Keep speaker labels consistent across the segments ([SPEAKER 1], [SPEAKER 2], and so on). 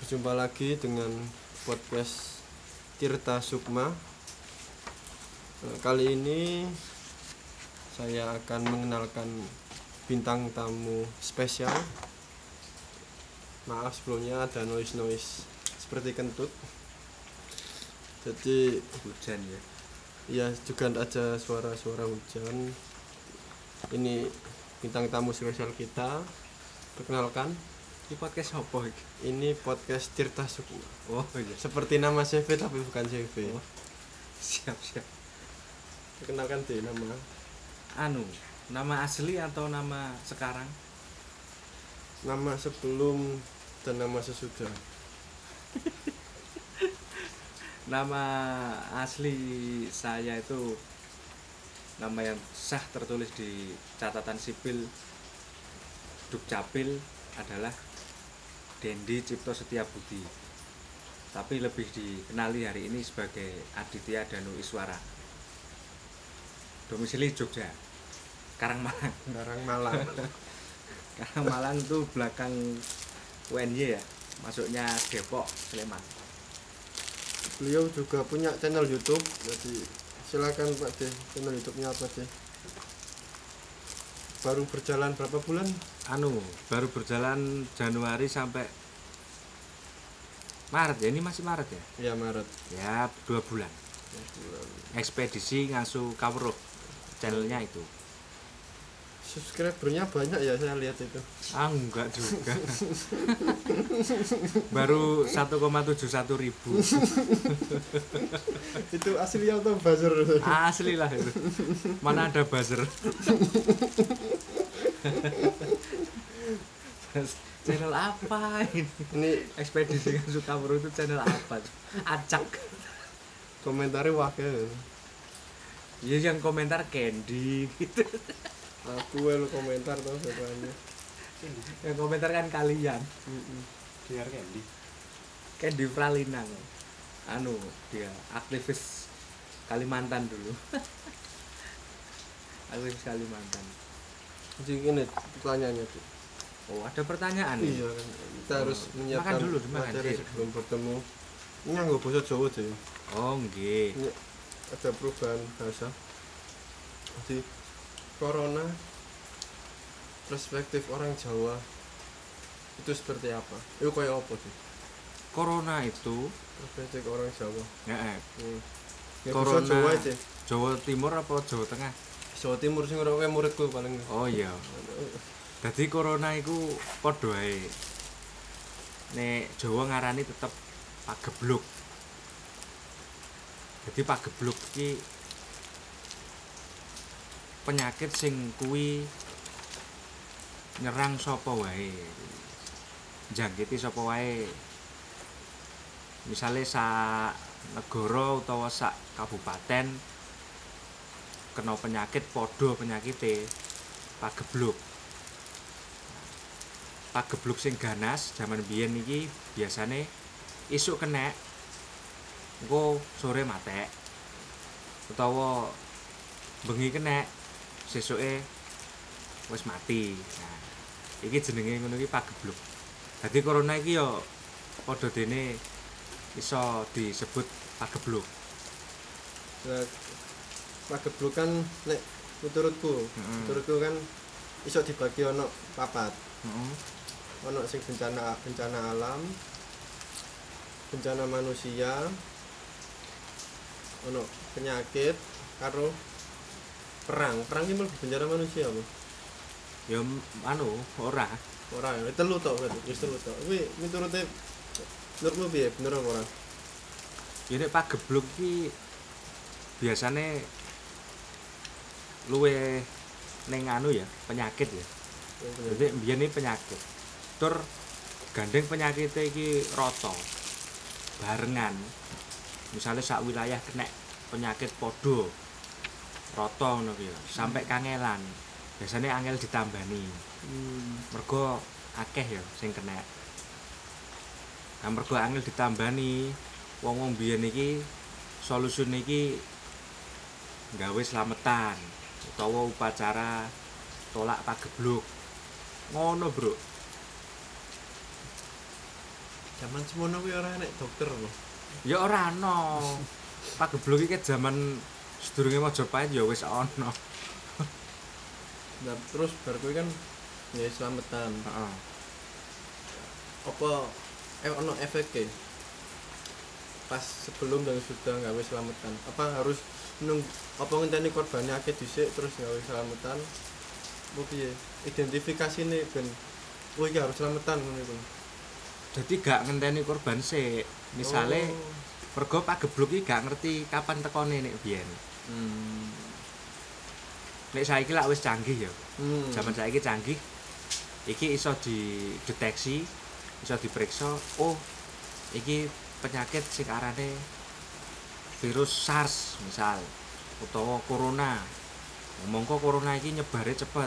[SPEAKER 1] berjumpa lagi dengan podcast Tirta Sukma. Eh, Kali ini saya akan mengenalkan bintang tamu spesial. Maaf sebelumnya ada noise noise seperti kentut. Jadi
[SPEAKER 2] hujan ya
[SPEAKER 1] ya juga ada suara-suara hujan. Ini bintang tamu spesial kita. Perkenalkan,
[SPEAKER 2] ini podcast apa iki
[SPEAKER 1] ini podcast Tirta Sukma.
[SPEAKER 2] oh iya
[SPEAKER 1] Seperti nama CV tapi bukan CV.
[SPEAKER 2] Oh. siap siap
[SPEAKER 1] Perkenalkan deh nama.
[SPEAKER 2] anu nama asli atau nama sekarang
[SPEAKER 1] Nama sebelum dan nama sesudah.
[SPEAKER 2] nama asli saya itu nama yang sah tertulis di catatan sipil Dukcapil adalah Dendi Cipto Setiabudi tapi lebih dikenali hari ini sebagai Aditya Danu Iswara domisili Jogja Karangmalang
[SPEAKER 1] Sekarang Malang.
[SPEAKER 2] Karena Malang tuh belakang UNY ya, masuknya Depok, Sleman.
[SPEAKER 1] Beliau juga punya channel YouTube. Jadi silakan Pak De, channel YouTube-nya apa deh? Baru berjalan berapa bulan?
[SPEAKER 2] Anu, baru berjalan Januari sampai Maret ya, ini masih Maret ya?
[SPEAKER 1] Ya Maret.
[SPEAKER 2] Ya, dua bulan.
[SPEAKER 1] Ya, bulan.
[SPEAKER 2] Ekspedisi Ngasuh Kawruh, channelnya itu.
[SPEAKER 1] Subscribernya banyak ya saya lihat itu.
[SPEAKER 2] Ah, enggak juga. baru 1,71 ribu.
[SPEAKER 1] itu asli atau buzzer?
[SPEAKER 2] Asli lah itu. Mana ada buzzer. channel apa ini?
[SPEAKER 1] Ini
[SPEAKER 2] Ekspedisi ke Sukaburu itu channel apa? Acak.
[SPEAKER 1] komentarnya wakil.
[SPEAKER 2] Ya yang komentar Candy gitu.
[SPEAKER 1] Aku yang komentar tau sebanyak.
[SPEAKER 2] Yang komentar kan kalian.
[SPEAKER 1] Mm-mm.
[SPEAKER 2] Dia Candy. Candy Pralinang. Anu, dia aktivis Kalimantan dulu. aktivis Kalimantan.
[SPEAKER 1] Jadi ini pertanyaannya tuh.
[SPEAKER 2] Oh, ada pertanyaan. nih?
[SPEAKER 1] Iya kan. Kita harus
[SPEAKER 2] Makan
[SPEAKER 1] menyiapkan
[SPEAKER 2] dulu, makan,
[SPEAKER 1] materi
[SPEAKER 2] Cik.
[SPEAKER 1] sebelum bertemu. Ini nggak bahasa Jawa deh.
[SPEAKER 2] Oh, nggih.
[SPEAKER 1] Ini ada perubahan bahasa. Jadi corona perspektif orang Jawa itu seperti apa? Itu kayak apa sih?
[SPEAKER 2] Corona itu
[SPEAKER 1] Perspektif orang Jawa.
[SPEAKER 2] ya, eh,
[SPEAKER 1] Hmm. Ya,
[SPEAKER 2] Corona.
[SPEAKER 1] corona Jawa aja.
[SPEAKER 2] Jawa Timur apa Jawa Tengah?
[SPEAKER 1] Jawa Timur sing ora kowe muridku paling.
[SPEAKER 2] Oh iya. Dadi corona iku padha ae. Nek Jawa ngarani tetep pagebluk. Jadi pagebluk iki penyakit sing kuwi nyerang sapa wae. Njangkiti sapa wae. Misale sak negara utawa sak kabupaten kena penyakit padha penyakite pagebluk. Pagebluk sing ganas jaman biyen iki biasane isuk kena engko sore matek utawa bengi kena sesuke wis mati. Nah, iki jenenge ngono iki pagebluk. Dadi corona iki ya padha dene iso disebut pagebluk.
[SPEAKER 1] Nah, pagebluk kan nek menurutku,
[SPEAKER 2] Mm-mm.
[SPEAKER 1] menurutku kan iso dibagi ono papat.
[SPEAKER 2] Heeh.
[SPEAKER 1] ono sing bencana bencana alam bencana manusia ono penyakit karo perang perang ini lebih bencana manusia bu
[SPEAKER 2] Ya anu ora
[SPEAKER 1] orang ya telu tok berarti wis telu tok kuwi miturute menurutmu piye bener apa ora
[SPEAKER 2] Ya nek pagebluk iki biasane luwe ning anu ya, penyakit ya.
[SPEAKER 1] Ya, bener.
[SPEAKER 2] Dadi biyen iki penyakit. Tur gandeng penyakite iki rata. Barengan. Misalnya sak wilayah kena penyakit padha. Rata ngono ki ya, sampai kangelan. Biasanya angel ditambani.
[SPEAKER 1] Hmm,
[SPEAKER 2] mergo akeh ya sing kena nah mergo angel ditambani wong wong biyen iki solusun iki nggawe slametan utawa upacara tolak pagebluk ngono bro
[SPEAKER 1] Zaman semono kuwi ora enek dokter loh.
[SPEAKER 2] ya ora ana pageblok iki jaman sedurunge Majapahit ya wis ana
[SPEAKER 1] Nah, terus bar kuwi kan ya selamatan.
[SPEAKER 2] heeh
[SPEAKER 1] Apa eh ono efeknya? Pas sebelum dan sudah gawe selamatan. Apa harus nung apa ngenteni korbannya akeh dhisik terus gawe selamatan? Apa piye? Identifikasine ben Oh iya harus selamatan ngono iku.
[SPEAKER 2] jadi gak ngenteni korban sik misale
[SPEAKER 1] Oh.
[SPEAKER 2] mergo pageblok iki gak ngerti kapan tekone nek biyen
[SPEAKER 1] Hmm.
[SPEAKER 2] nek saiki lak wis canggih ya
[SPEAKER 1] Hmm.
[SPEAKER 2] zaman saiki canggih iki iso dideteksi iso diperiksa oh iki penyakit sing arane virus SARS misal utawa corona mongko corona iki nyebare cepet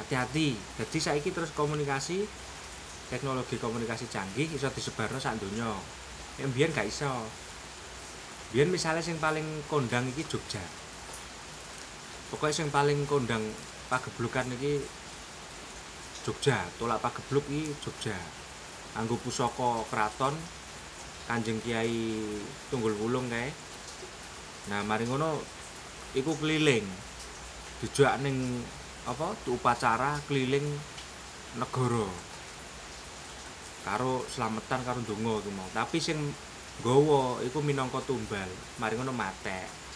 [SPEAKER 2] hati-hati jadi saiki terus komunikasi teknologi komunikasi canggih iso disebarno sak donya yang biyen gak iso biyen misalnya sing paling kondang iki Jogja pokoknya sing paling kondang pageblukan iki Jogja tolak pagebluk iki Jogja anggo pusaka keraton Kanjeng Kiai Tunggul Wulung kae nah mari ngono iku keliling dijak ning apa upacara keliling negara karo selametan karo donga iku mau tapi sing nggawa iku minangka tumbal mari ngono matek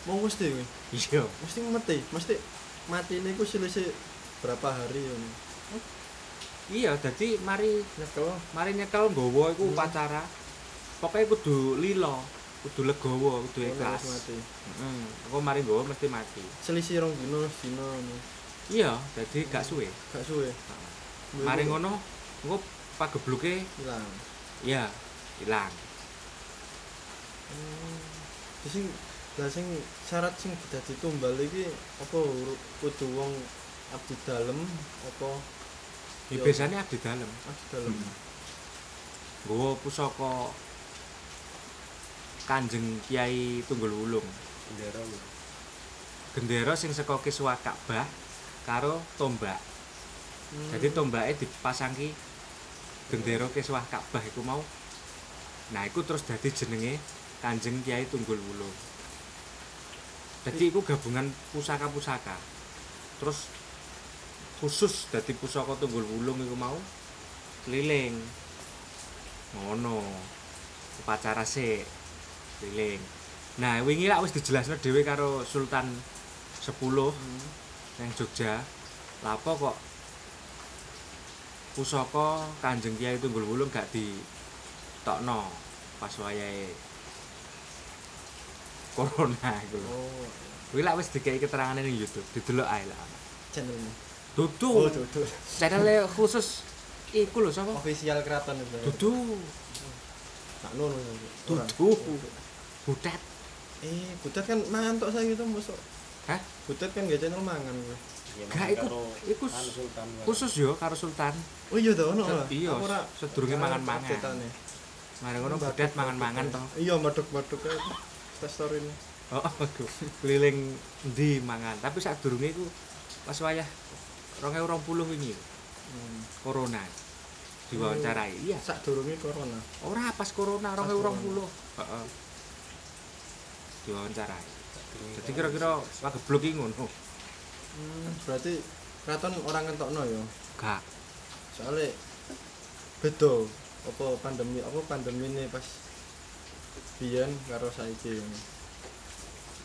[SPEAKER 1] Mau mesti kuwi.
[SPEAKER 2] iya
[SPEAKER 1] mesti mati mesti mati ini ku selisih berapa hari ya
[SPEAKER 2] iya dadi mari
[SPEAKER 1] nyekel
[SPEAKER 2] mari nyekel nggawa iku
[SPEAKER 1] Hmm.
[SPEAKER 2] upacara pokoknya kudu lilo kudu legowo kudu
[SPEAKER 1] harus
[SPEAKER 2] ikhlas
[SPEAKER 1] Oh, mati
[SPEAKER 2] heeh engko mari nggawa mesti mati
[SPEAKER 1] selisih rong dino dino ini
[SPEAKER 2] iya jadi gak suwe
[SPEAKER 1] gak suwe
[SPEAKER 2] mari ngono engko pagebluke
[SPEAKER 1] hilang
[SPEAKER 2] ya ilang
[SPEAKER 1] hmm. sing lah sing syarat sing dadi tumbal iki apa huruf kudu wong abdi dalem apa
[SPEAKER 2] ya
[SPEAKER 1] Yo.
[SPEAKER 2] biasanya abdi dalem
[SPEAKER 1] abdi dalem
[SPEAKER 3] Hmm.
[SPEAKER 2] nggawa pusaka Kanjeng Kiai Tunggul Wulung
[SPEAKER 3] bendera lho.
[SPEAKER 2] gendera sing saka kiswa Ka'bah karo tombak
[SPEAKER 1] Hmm.
[SPEAKER 2] Jadi tombaknya dipasang ki gendera kiswah Ka'bah iku mau. Nah, iku terus dadi jenenge Kanjeng Kiai Tunggul Wulung. Jadi iku gabungan pusaka-pusaka. Terus khusus dadi pusaka Tunggul Wulung iku mau keliling. Ngono. Upacara sik keliling. Nah, wingi lak wis dijelasno dhewe karo Sultan 10
[SPEAKER 1] Hmm.
[SPEAKER 2] nang Jogja. Lapo kok pusaka Kanjeng Kiai Tunggul Wulung gak ditokno pas wayahe corona iku. lho.
[SPEAKER 1] oh
[SPEAKER 2] Kuwi lak wis dikei keterangane ning YouTube, didelok ae lah.
[SPEAKER 1] channelnya oh
[SPEAKER 2] Dudu.
[SPEAKER 1] duduk
[SPEAKER 2] Channel khusus iku lho sapa?
[SPEAKER 1] official keraton itu
[SPEAKER 2] Dudu.
[SPEAKER 1] tak nono Orang.
[SPEAKER 2] Dudu. Butet.
[SPEAKER 1] eh butet kan mantok saya gitu masuk
[SPEAKER 2] Hah?
[SPEAKER 1] butet kan gak channel mangan gue
[SPEAKER 4] Iya,
[SPEAKER 2] Gak, iku- iku s- Khusus yo karo sultan.
[SPEAKER 1] Oh iya toh ono lah.
[SPEAKER 2] Iya,
[SPEAKER 1] Aku ora-
[SPEAKER 2] sedurunge
[SPEAKER 1] ora
[SPEAKER 2] mangan-mangan.
[SPEAKER 1] cetane.
[SPEAKER 2] Mari ngono butet mangan-mangan to.
[SPEAKER 1] Iya maduk-maduk ae. Tes story ini.
[SPEAKER 2] Oh, aduh. keliling ndi mangan. Tapi sadurunge iku pas wayah 2020 wingi
[SPEAKER 1] Hmm.
[SPEAKER 2] corona diwawancarai. Iya.
[SPEAKER 1] Sak durunge corona.
[SPEAKER 2] Ora pas corona
[SPEAKER 1] Pas
[SPEAKER 2] 2020. Heeh. Diwawancarai. Jadi kira-kira pageblok iki ngono.
[SPEAKER 1] Hmm, berarti keraton orang ngentokno ya.
[SPEAKER 2] Gak.
[SPEAKER 1] Soale beda apa pandemi apa pandemi ini pas biyen karo saiki.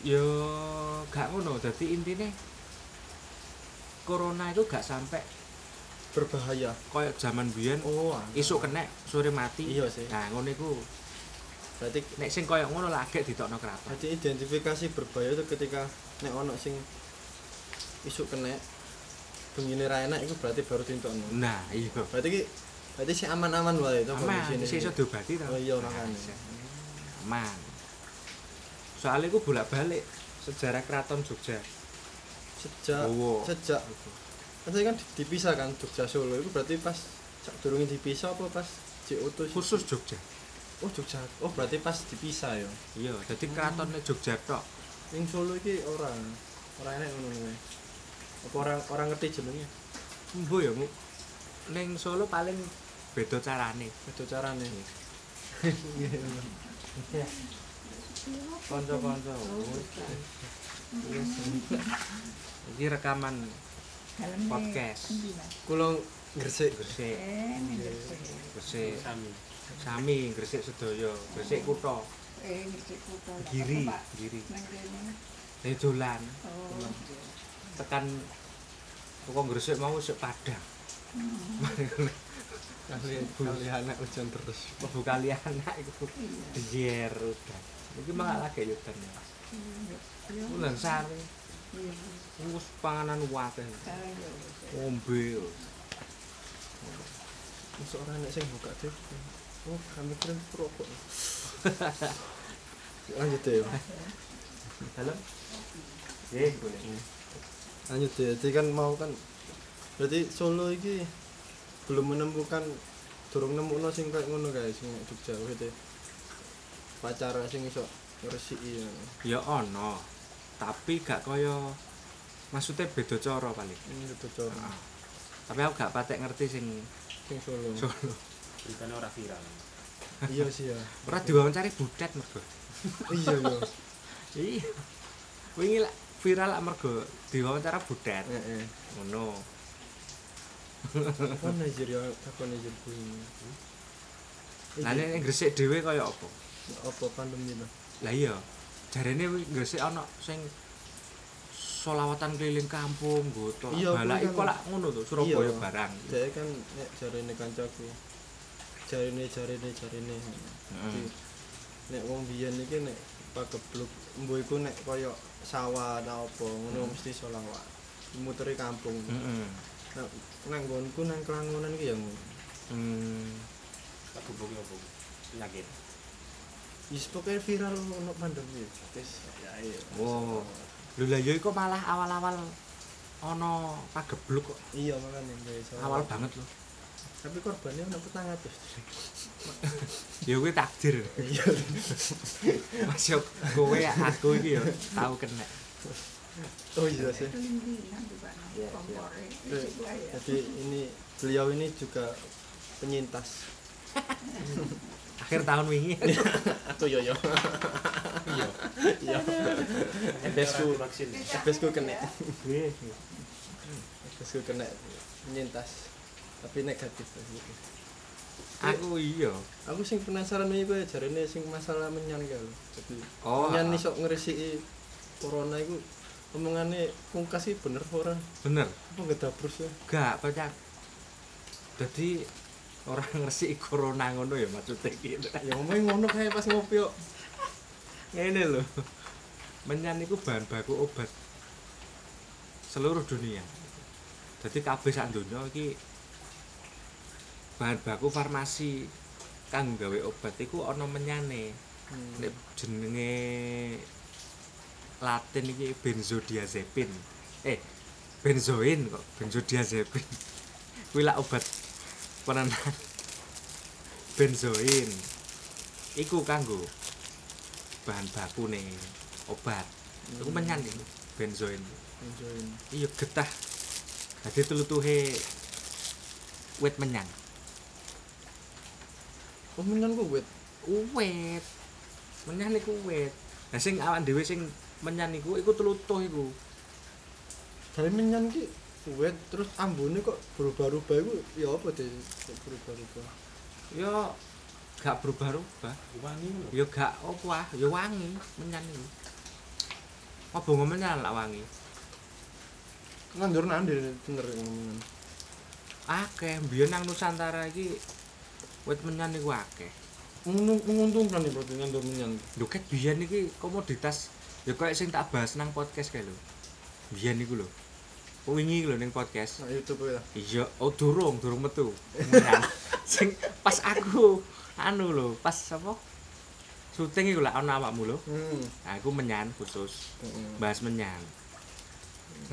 [SPEAKER 2] Yo gak ngono. Dadi intine corona itu gak sampai
[SPEAKER 1] Berbahaya.
[SPEAKER 2] koyo zaman biyen
[SPEAKER 1] Oh, ah.
[SPEAKER 2] isuk kena sore mati.
[SPEAKER 1] Iya sih.
[SPEAKER 2] Nah, ngono iku
[SPEAKER 1] Berarti
[SPEAKER 2] nek sing koyo ngono lagi ditokno keraton.
[SPEAKER 1] berarti identifikasi berbahaya itu ketika nek ono sing isuk kena bengine ra enak itu berarti baru dintokno.
[SPEAKER 2] Nah, iya.
[SPEAKER 1] Berarti ki berarti sih aman-aman wae to
[SPEAKER 2] Aman,
[SPEAKER 1] kondisine.
[SPEAKER 2] sih iso diobati ta.
[SPEAKER 1] Oh iya
[SPEAKER 2] Nah,
[SPEAKER 1] makane.
[SPEAKER 2] iso. Aman. Soalnya iku bolak-balik sejarah keraton Jogja.
[SPEAKER 1] Sejak
[SPEAKER 2] Gowo.
[SPEAKER 1] sejak berarti kan dipisah kan Jogja Solo itu berarti pas sak durunge dipisah apa pas diutus
[SPEAKER 2] Khusus Jogja.
[SPEAKER 1] Oh Jogja. Oh berarti pas dipisah ya.
[SPEAKER 2] Iya, jadi keratonnya Jogja tok.
[SPEAKER 1] Ning Solo iki ora ora enak ngono kuwi. Apa orang orang ngerti jenenge?
[SPEAKER 2] Mbo ya, Mu. Ning Solo paling beda carane
[SPEAKER 1] Itu carane. Kanca-kanca.
[SPEAKER 2] iki rekaman
[SPEAKER 3] Dalamnya
[SPEAKER 2] Podcast.
[SPEAKER 3] endi, Mas?
[SPEAKER 1] Kula gresik.
[SPEAKER 2] Gresik
[SPEAKER 3] Eh, ning Gresik.
[SPEAKER 2] Gresik Sami Gresik Sedaya Gresik Kutha
[SPEAKER 3] Eh, Gresik kutha. Nggak
[SPEAKER 2] Giri
[SPEAKER 3] apa-apa, Pak.
[SPEAKER 2] Giri
[SPEAKER 3] Nang kene.
[SPEAKER 2] Saya dolan
[SPEAKER 3] Oh,
[SPEAKER 2] tekan toko Gresik mau sik Padang
[SPEAKER 1] Kali kali anak hujan terus.
[SPEAKER 2] Mlebu kali anak iku diyer udan iki mah lagi udan ya
[SPEAKER 3] iya,
[SPEAKER 2] Ulan sari
[SPEAKER 3] iya.
[SPEAKER 2] wis panganan wakil
[SPEAKER 3] Sekarang ya.
[SPEAKER 2] ombe
[SPEAKER 1] Masuk ora enak sing buka deh. Oh, kami kira rokok. Lanjut ya.
[SPEAKER 2] dalem nggih boleh
[SPEAKER 1] Lanjut ya. Jadi kan mau kan berarti Solo iki belum menemukan durung nemuno sing kayak ngono guys sing nek Jogja gitu. Pacar sing iso ngresiki ya.
[SPEAKER 2] ya ono tapi gak kaya maksudnya beda cara paling
[SPEAKER 1] Ini itu cara
[SPEAKER 2] Ah. tapi aku gak patek ngerti sing
[SPEAKER 1] sing Solo.
[SPEAKER 2] Solo
[SPEAKER 4] beritanya ora viral
[SPEAKER 1] Iya sih ya.
[SPEAKER 2] ora diwawancari butet mergo
[SPEAKER 1] Iya iya.
[SPEAKER 2] iya wingi lak viral lak mergo diwawancara butet
[SPEAKER 1] Heeh.
[SPEAKER 2] ngono
[SPEAKER 1] Apa Najir ya? Apa Najir kuwi?
[SPEAKER 2] lah nek ning Gresik dhewe kaya apa
[SPEAKER 1] apa pandemi lah.
[SPEAKER 2] lah iya jarene wi- Gresik ana sing solawatan keliling kampung goto
[SPEAKER 1] Iya,
[SPEAKER 2] balak
[SPEAKER 1] kuwi
[SPEAKER 2] iku
[SPEAKER 1] kan-
[SPEAKER 2] lak ngono to
[SPEAKER 1] Iya.
[SPEAKER 2] Surabaya barang
[SPEAKER 1] Jadi kan nek jarine kancaku. Jarine jarine jarine. Jadi,
[SPEAKER 2] Heeh.
[SPEAKER 1] Nek wong biyen iki nek pagebluk mbo iku nek kaya sawah ta apa ngono mesti solawat. Muteri kampung.
[SPEAKER 2] Heeh.
[SPEAKER 1] Nek nang nggonku nang Kelangonan iki ya ngono.
[SPEAKER 2] Hmm.
[SPEAKER 4] tak gubuknya apa penyakit
[SPEAKER 1] Wis pokoke viral ono pandemi. Wis ya iya.
[SPEAKER 2] Wow. Lho lah ya iku malah awal-awal ana pagebluk kok.
[SPEAKER 1] Iya makane guys.
[SPEAKER 2] Awal banget lho.
[SPEAKER 1] Tapi korbannya ono 400.
[SPEAKER 2] Ya kuwi takdir.
[SPEAKER 1] Iya.
[SPEAKER 2] Mas yo kowe aku iki yo tau kena.
[SPEAKER 1] Oh iya sih.
[SPEAKER 3] Itu lingkungan tuh, Pak. Nang
[SPEAKER 1] Iya,
[SPEAKER 3] kompore.
[SPEAKER 1] iya.
[SPEAKER 3] Itu aja.
[SPEAKER 1] Jadi ini beliau ini juga penyintas.
[SPEAKER 2] Akhir tahun wingi.
[SPEAKER 1] Aku yoyo. Iya. Ebesku,
[SPEAKER 4] vaksin
[SPEAKER 1] ebesku kena,
[SPEAKER 2] Nggih.
[SPEAKER 1] ebesku kena penyintas. Tapi negatif.
[SPEAKER 2] Aku iya.
[SPEAKER 1] Aku sing penasaran iki kowe jarene sing masalah menyan ka lho. Jadi
[SPEAKER 2] Oh,
[SPEAKER 1] menyan
[SPEAKER 2] ah.
[SPEAKER 1] iso ngresiki corona iku omongane pungkas iki bener apa ora?
[SPEAKER 2] Bener.
[SPEAKER 1] Apa ngedabrus ya?
[SPEAKER 2] Gak pacar. Jadi orang ngersi corona ngono ya maksudnya gitu.
[SPEAKER 1] Ya omongnya ngono kae pas ngopi kok.
[SPEAKER 2] Ngene lho. Menyan iku bahan baku obat seluruh dunia. Jadi kabeh sak donya iki bahan baku farmasi kang gawe obat iku ana menyane.
[SPEAKER 1] Hmm,
[SPEAKER 2] Nek jenenge Latin iki benzodiazepin. Eh, benzoin kok, benzodiazepin. Kuwi lak obat penenang. Benzoin. Iku kanggo bahan baku nih obat. Iku menyan iki benzoin.
[SPEAKER 1] Enjoyin.
[SPEAKER 2] Iya getah. Dadi tlutuhe wit menyan.
[SPEAKER 1] Oh menyan ku wit.
[SPEAKER 2] Uwit. Menyan iku uwit. Lah sing awak dhewe sing menyan iku iku tlutuh iku.
[SPEAKER 1] dari menyan ki wet terus ambune kok berubah-ubah iku ya apa deh kok berubah-ubah
[SPEAKER 2] Ya gak berubah-ubah.
[SPEAKER 4] wangi lho
[SPEAKER 2] Ya gak opo ah, ya wangi menyan iku. Apa menyan lak wangi?
[SPEAKER 1] nandur nandir bener ngomongan
[SPEAKER 2] Akeh biyen nang Nusantara iki wit menyan iku akeh.
[SPEAKER 1] Menguntung- menguntungkan nih berarti nandur menyan
[SPEAKER 2] Lho ket biyen iki komoditas ya koyo sing tak bahas nang podcast kae lho. Biyen iku lho. Wingi iku lho ning podcast.
[SPEAKER 1] nah youtube ya
[SPEAKER 2] Iya, oh durung, durung metu. Nah, sing pas aku anu lho, pas apa? Syuting iku lak ana awakmu lho.
[SPEAKER 1] hmm
[SPEAKER 2] Nah, aku menyan khusus
[SPEAKER 1] Heeh.
[SPEAKER 2] bahas menyan.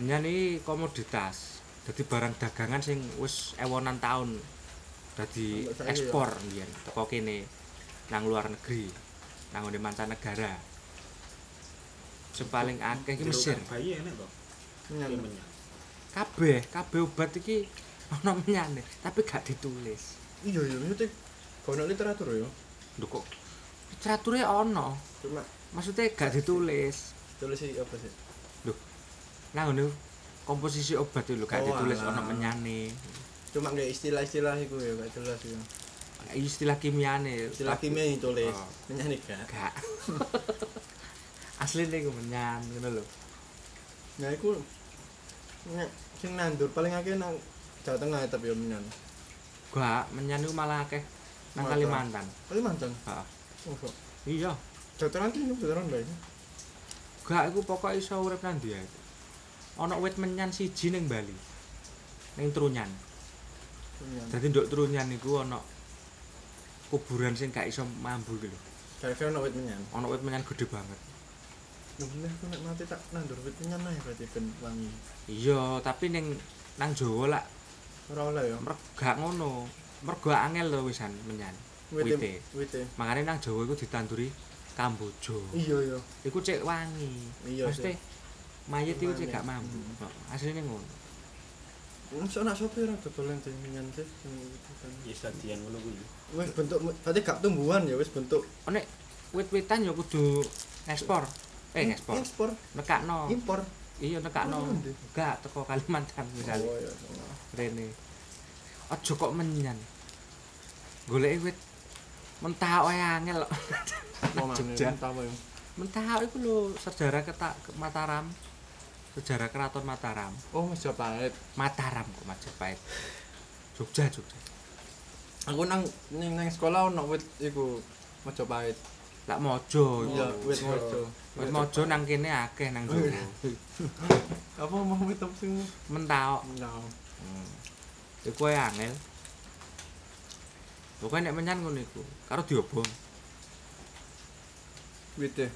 [SPEAKER 2] Menyan ini komoditas. Jadi barang dagangan sing wis ewonan tahun dadi
[SPEAKER 1] Sampai saiki ya?
[SPEAKER 2] ekspor mbiyen teko kene nang luar negeri, nang ngene mancanegara. Sing paling akeh iki Mesir.
[SPEAKER 4] bayi ya, enak kok
[SPEAKER 1] menyan
[SPEAKER 4] Iya, menyan
[SPEAKER 2] kabeh kabeh obat iki ana menyane tapi e, gak ditulis
[SPEAKER 1] iya iya maksudnya kau literatur ya
[SPEAKER 2] Duh kok literaturnya ono.
[SPEAKER 1] cuma
[SPEAKER 2] Maksudnya gak ditulis.
[SPEAKER 1] tulis sih apa sih
[SPEAKER 2] Nah ngono komposisi obat itu lho gak
[SPEAKER 1] Oh,
[SPEAKER 2] ditulis
[SPEAKER 1] alah.
[SPEAKER 2] ono menyane.
[SPEAKER 1] cuma nggak istilah-istilah itu ya gak jelas ya
[SPEAKER 2] Istilah kimiane.
[SPEAKER 1] istilah kimia yang tulis
[SPEAKER 2] Oh.
[SPEAKER 1] menyanyi gak
[SPEAKER 2] gak. Asline iku menyan ngono lho.
[SPEAKER 1] nah itu nek sing nandur paling akeh nang Jawa Tengah tapi ya menyan
[SPEAKER 2] Gak menyan iku malah akeh nang
[SPEAKER 1] Malah.
[SPEAKER 2] Kalimantan.
[SPEAKER 1] Kalimantan
[SPEAKER 2] Heeh.
[SPEAKER 1] oh kok
[SPEAKER 2] Iya.
[SPEAKER 1] Jawa Tengah itu Jawa Tengah mbak ini
[SPEAKER 2] Gak iku pokoke iso urip nang ndi ae. Ana wit menyan siji ning Bali. Ning Trunyan.
[SPEAKER 1] menyan
[SPEAKER 2] Dadi nduk Trunyan iku ana kuburan sing gak iso mambu iku lho.
[SPEAKER 1] kira-kira nak wit menyan
[SPEAKER 2] Ana wit menyan gede banget.
[SPEAKER 1] Loh, bener aku nek mati tak nandur wit menyan ae berarti ben wangi
[SPEAKER 2] Iya, tapi ning nang Jawa lak
[SPEAKER 1] ora oleh ya
[SPEAKER 2] mergo gak ngono. Mergo angel lho wisan menyan. Wite.
[SPEAKER 1] wite wite
[SPEAKER 2] Makane nang Jawa iku ditanduri kamboja.
[SPEAKER 1] iya iya
[SPEAKER 2] Iku cek wangi.
[SPEAKER 1] Iya,
[SPEAKER 2] Maksudnya mayit iku cek
[SPEAKER 1] Wangi.
[SPEAKER 2] gak mambu. Asline ngono.
[SPEAKER 1] Masuk nak sopi orang dodolan di minyan sih yang itu kan.
[SPEAKER 4] ya sedian ngono kuwi
[SPEAKER 1] Wes bentuk berarti gak tumbuhan ya wes bentuk
[SPEAKER 2] Oh, Nek wit-witan ya kudu ekspor. Eh, ekspor. Oh.
[SPEAKER 1] ekspor
[SPEAKER 2] nekakno
[SPEAKER 1] impor
[SPEAKER 2] iya nekakno
[SPEAKER 1] Oh, ndi?
[SPEAKER 2] enggak teko Kalimantan misalnya
[SPEAKER 1] oh ya
[SPEAKER 2] rene aja kok menyan golek wit mentah wae angel kok. Nang Jogja
[SPEAKER 1] tamu ya
[SPEAKER 2] mentah iku lho sejarah ketak ke Mataram sejarah keraton Mataram
[SPEAKER 1] oh mas Jabait
[SPEAKER 2] Mataram kok Majapahit Jogja Jogja
[SPEAKER 1] aku nang nang, nang sekolah ono wit iku mas Jabait
[SPEAKER 2] lak
[SPEAKER 1] Oh,
[SPEAKER 2] mojo
[SPEAKER 1] iya
[SPEAKER 2] iku.
[SPEAKER 1] wit mojo
[SPEAKER 2] wit mojo nang kene akeh nang
[SPEAKER 1] Oh,
[SPEAKER 2] Jawa
[SPEAKER 1] iya. apa mau wit apa sih
[SPEAKER 2] mentah
[SPEAKER 1] no
[SPEAKER 2] iku wae angel Pokoknya nek menyan ngono iku, karo diobong.
[SPEAKER 1] wit deh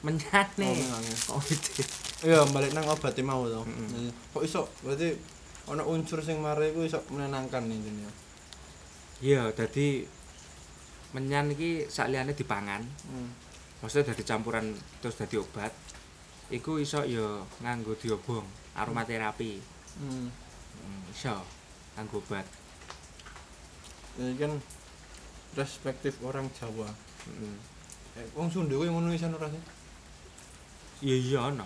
[SPEAKER 2] Menyan
[SPEAKER 1] Oh,
[SPEAKER 2] nih.
[SPEAKER 1] menyan, ya.
[SPEAKER 2] Kok gitu.
[SPEAKER 1] iya balik nang obatnya mau tau
[SPEAKER 2] Mm-mm.
[SPEAKER 1] kok iso berarti ono unsur sing mare iku iso menenangkan nih dunia
[SPEAKER 2] Iya, dadi menyan iki sakliyane dipangan,
[SPEAKER 1] hmm.
[SPEAKER 2] maksudnya dari campuran terus dadi obat. Iku iso ya nganggo diobong, aromaterapi.
[SPEAKER 1] hmm.
[SPEAKER 2] Hmm, iso nganggo obat.
[SPEAKER 1] ini kan perspektif orang Jawa
[SPEAKER 2] Heeh.
[SPEAKER 1] eh wong Sunda kuwi ngono isan ora sih
[SPEAKER 2] Iya iya ono.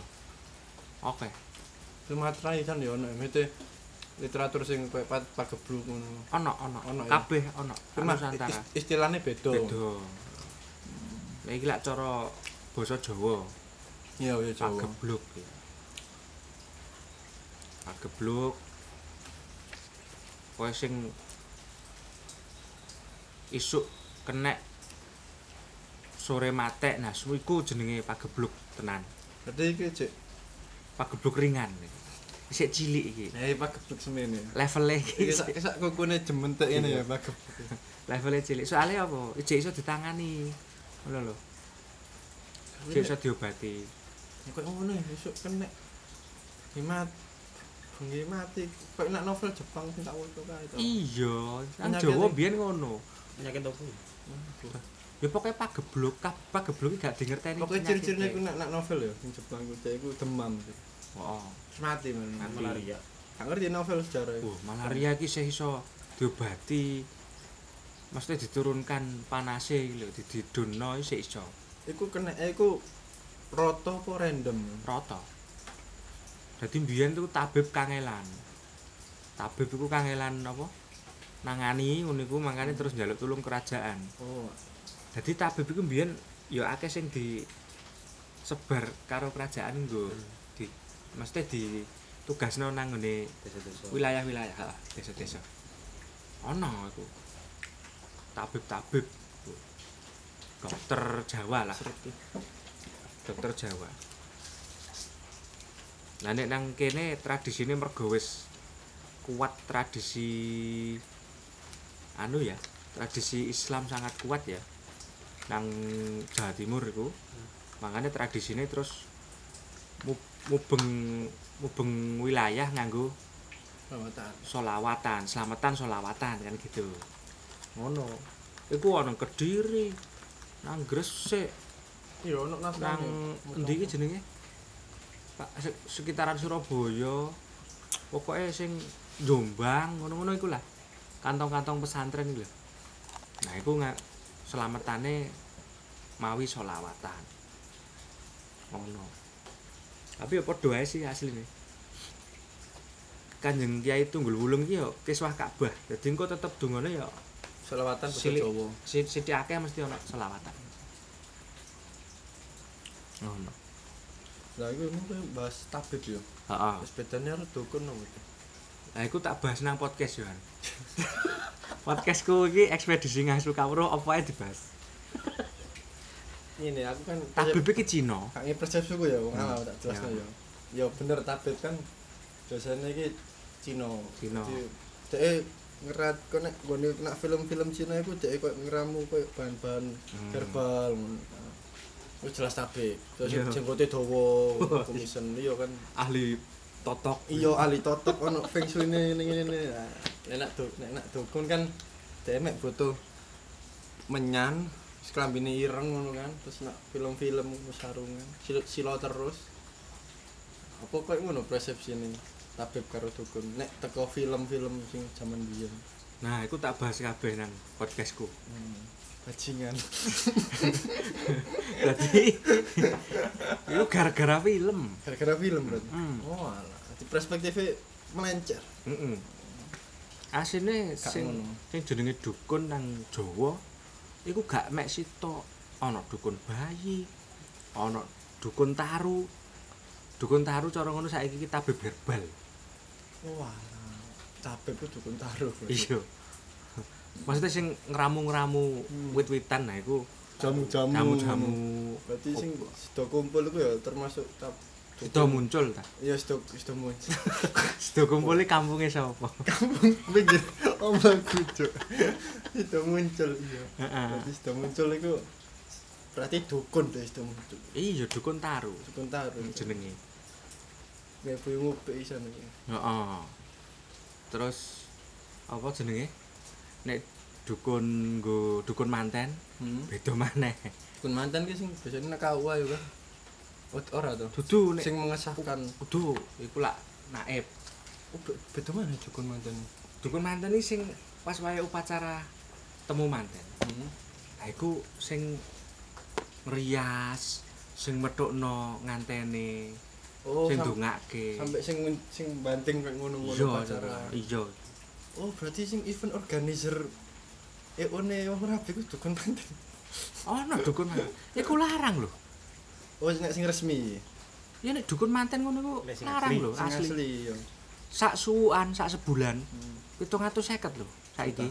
[SPEAKER 2] Oke.
[SPEAKER 1] Sumatera isan ya ono mete literatur sing koyo pat pagebluk ngono
[SPEAKER 2] Ono ono
[SPEAKER 1] Ono, ya.
[SPEAKER 2] kabeh ono.
[SPEAKER 1] cuma
[SPEAKER 2] Nusantara.
[SPEAKER 1] is- istilahnya beda
[SPEAKER 2] Beda. Lah iki lak cara basa Jawa,
[SPEAKER 1] iya iya Jawa
[SPEAKER 2] pagebluk ya. Pagebluk. Kowe sing isuk kena sore matek nah su- iku jenenge pagebluk tenan.
[SPEAKER 1] berarti iki cek
[SPEAKER 2] Pagebluk ringan. Isik cilik iki.
[SPEAKER 1] eh pagebluk semene
[SPEAKER 2] Levele iki.
[SPEAKER 1] iki sak
[SPEAKER 2] isik-
[SPEAKER 1] sak kukune jementek ini
[SPEAKER 2] Iya.
[SPEAKER 1] ya pagebluk
[SPEAKER 2] Levele cilik. Soale apa? Ijek iso ditangani. Ngono lho. Ijek iso diobati.
[SPEAKER 1] Ya, koyo ngono ya esuk kena hemat bengi mati koyo nak novel Jepang sing tak waca kae to
[SPEAKER 2] Iya, nang
[SPEAKER 1] Penyakit
[SPEAKER 2] Jawa
[SPEAKER 1] iki.
[SPEAKER 2] biyen ngono.
[SPEAKER 4] penyakit apa Kan kuwi
[SPEAKER 2] Ya pokoknya pagebluk, kap- pagebluk iki gak dingerteni.
[SPEAKER 1] pokoknya
[SPEAKER 2] penyakite.
[SPEAKER 1] ciri-cirinya iku nak nak novel ya sing Jepang iku cek iku demam
[SPEAKER 2] Oh,
[SPEAKER 1] terus mati
[SPEAKER 2] Mati.
[SPEAKER 1] men
[SPEAKER 4] malaria
[SPEAKER 1] Gak ngerti novel sejarah
[SPEAKER 2] oh. malaria iki isih iso diobati. Maksudnya diturunkan panase iki lho, dididunno isih iso.
[SPEAKER 1] Iku kena eh, iku roto apa random?
[SPEAKER 2] Rata. Dadi biyen tuh tabib kangelan. Tabib iku kangelan apa? Nangani ngono iku makane terus njaluk tulung kerajaan.
[SPEAKER 1] Oh,
[SPEAKER 2] Dadi tabib iku biyen ya akeh sing di sebar karo kerajaan nggo di mesti di tugasno nang ngene
[SPEAKER 4] desa-desa
[SPEAKER 2] wilayah-wilayah ha, desa-desa. Ono iku. Tabib-tabib. Dokter Jawa lah,
[SPEAKER 1] serpi.
[SPEAKER 2] dokter Jawa. Lah nek nang kene tradisine mergo wis kuat tradisi anu ya, tradisi Islam sangat kuat ya. Nang Jawa Timur iku. Makanya tradisine terus mu- mubeng mubeng wilayah nganggo
[SPEAKER 1] Rawatan.
[SPEAKER 2] solawatan, selamatan solawatan kan gitu. Ngono. Iku ana Kediri, nang Gresik,
[SPEAKER 1] Iya, ono naskah.
[SPEAKER 2] nang endi iki jenenge? Pak se- sekitaran Surabaya. Pokoke sing Jombang ngono-ngono iku lah. kantong-kantong pesantren iki lho. Nah, iku nga- selametane mawi sholawatan. Ngono. Tapi ya padha ae sih asline. Kanjeng Kiai Tunggul Wulung iki ya kiswah Ka'bah. Dadi engko tetep dungane ya
[SPEAKER 1] Selawatan bahasa
[SPEAKER 2] Silik.
[SPEAKER 1] Jawa.
[SPEAKER 2] si- sithik akeh mesti ana sholawatan. Ngono.
[SPEAKER 1] Lah iku mungkin bahas tabib ya.
[SPEAKER 2] Heeh.
[SPEAKER 1] Terus bedanya harus dukun no.
[SPEAKER 2] Nah, iku tak bahas nang podcast Yohan. Podcastku iki ekspedisi ngasih kawruh apa ae dibahas.
[SPEAKER 1] Ini aku kan
[SPEAKER 2] Tabib iki Cina.
[SPEAKER 1] Kang persepsiku ya, wong
[SPEAKER 2] Hmm.
[SPEAKER 1] ala tak jelasno
[SPEAKER 2] Ya.
[SPEAKER 1] ya. Ya bener tabib kan biasanya iki Cina.
[SPEAKER 2] Cina.
[SPEAKER 1] Dek ngerat kok nek nggone kena film-film Cina iku dek koyo ngeramu koyo bahan-bahan
[SPEAKER 2] Hmm.
[SPEAKER 1] verbal ngono. Wis jelas tabib. Terus
[SPEAKER 2] Iya.
[SPEAKER 1] jenggote dawa,
[SPEAKER 2] Wah.
[SPEAKER 1] kumisen iya kan.
[SPEAKER 2] Ahli totok.
[SPEAKER 1] Iya ali totok ono feng shui-ne ngene ngene. Nek nak du- nek nak dukun kan dek mek butuh menyan terus kelambine ireng ngono kan terus nak film-film wis sarungan silo, silo terus apa kok ngono persepsine tabib karo dukun nek teko film-film sing jaman biyen
[SPEAKER 2] Nah, iku tak bahas kabeh nang podcastku.
[SPEAKER 1] hmm. bajingan
[SPEAKER 2] Dadi iku gara-gara film.
[SPEAKER 1] gara-gara film berarti
[SPEAKER 2] Hmm.
[SPEAKER 1] oh alah di perspektifnya melencer
[SPEAKER 2] Heeh. Asine
[SPEAKER 1] Gak
[SPEAKER 2] sing
[SPEAKER 1] ngono.
[SPEAKER 2] sing jenenge dukun nang Jawa iku gak mek sitok. Ana dukun bayi, ana dukun taru. Dukun taru cara ngono saiki iki tabib herbal.
[SPEAKER 1] oh alah tabib ku dukun taruh
[SPEAKER 2] Iya. Maksudnya sing ngeramu-ngeramu
[SPEAKER 1] Hmm.
[SPEAKER 2] wit-witan nah iku
[SPEAKER 1] jamu-jamu
[SPEAKER 2] jamu-jamu
[SPEAKER 1] berarti sing sudah kumpul itu ya termasuk tab
[SPEAKER 2] Sudah muncul ta.
[SPEAKER 1] ya sudah sudah muncul
[SPEAKER 2] Sudah
[SPEAKER 1] Oh.
[SPEAKER 2] kumpulnya kampungnya sapa?
[SPEAKER 1] pinggir omong kucuk itu muncul iya
[SPEAKER 2] Heeh.
[SPEAKER 1] berarti sudah muncul itu berarti dukun deh sudah muncul
[SPEAKER 2] Iya dukun taruh
[SPEAKER 1] dukun taruh
[SPEAKER 2] jenenge.
[SPEAKER 1] nggak boleh ngopi isan iki.
[SPEAKER 2] Heeh. ah. Terus apa jenenge? Nek dukun nggo dukun manten
[SPEAKER 1] Hmm.
[SPEAKER 2] beda maneh.
[SPEAKER 1] dukun mantan ki sing biasanya nak kau ayo kan Ot ora tuh
[SPEAKER 2] Dudu nek
[SPEAKER 1] sing mengesahkan
[SPEAKER 2] kudu iku lak naib.
[SPEAKER 1] oh, be- beda mana dukun mantan
[SPEAKER 2] Dukun manten iki sing pas wae upacara temu manten.
[SPEAKER 1] hmm.
[SPEAKER 2] Nah iku sing ngrias, sing methukno ngantene,
[SPEAKER 1] oh
[SPEAKER 2] sing
[SPEAKER 1] sam-
[SPEAKER 2] ndongake.
[SPEAKER 1] sampai sing ngun- sing banting kayak ngono-ngono
[SPEAKER 2] Iya,
[SPEAKER 1] pacaran
[SPEAKER 2] iya.
[SPEAKER 1] oh berarti sing event organizer eh one wong rabi ku dukun mantan
[SPEAKER 2] Ono Oh, dukun manten. Iku larang lho.
[SPEAKER 1] oh nek sing resmi
[SPEAKER 2] Ya nek dukun manten ngono iku
[SPEAKER 4] Nek sing
[SPEAKER 2] larang
[SPEAKER 4] asli,
[SPEAKER 2] lho,
[SPEAKER 1] Oh, sing
[SPEAKER 2] asli.
[SPEAKER 1] asli ya
[SPEAKER 2] sak suwuan sak sebulan
[SPEAKER 1] Hmm.
[SPEAKER 2] pitung atus seket lho saiki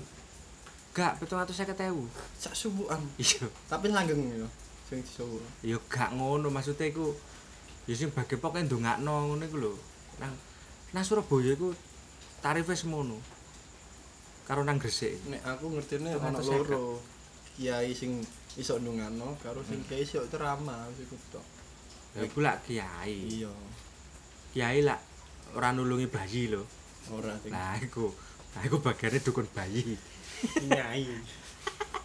[SPEAKER 2] gak pitung atus seket ewu
[SPEAKER 1] sak subuhan
[SPEAKER 2] iya
[SPEAKER 1] tapi langgeng ya sing disuwur
[SPEAKER 2] ya gak ngono maksudnya iku ya sing bagi pokoknya ndongakno ngono iku lho nang nang Surabaya iku tarifnya semono karo nang Gresik
[SPEAKER 1] nek aku ngertine
[SPEAKER 2] Tukang
[SPEAKER 1] ana
[SPEAKER 2] tersekat.
[SPEAKER 1] loro kiai sing iso ndungano karo sing kiai iso ceramah wis iku tok
[SPEAKER 2] ya iku lak kiai
[SPEAKER 1] iya
[SPEAKER 2] kiai lak ora nulungi bayi lho
[SPEAKER 1] ora sing
[SPEAKER 2] nah iku nah iku bagiannya dukun bayi
[SPEAKER 4] Nyai.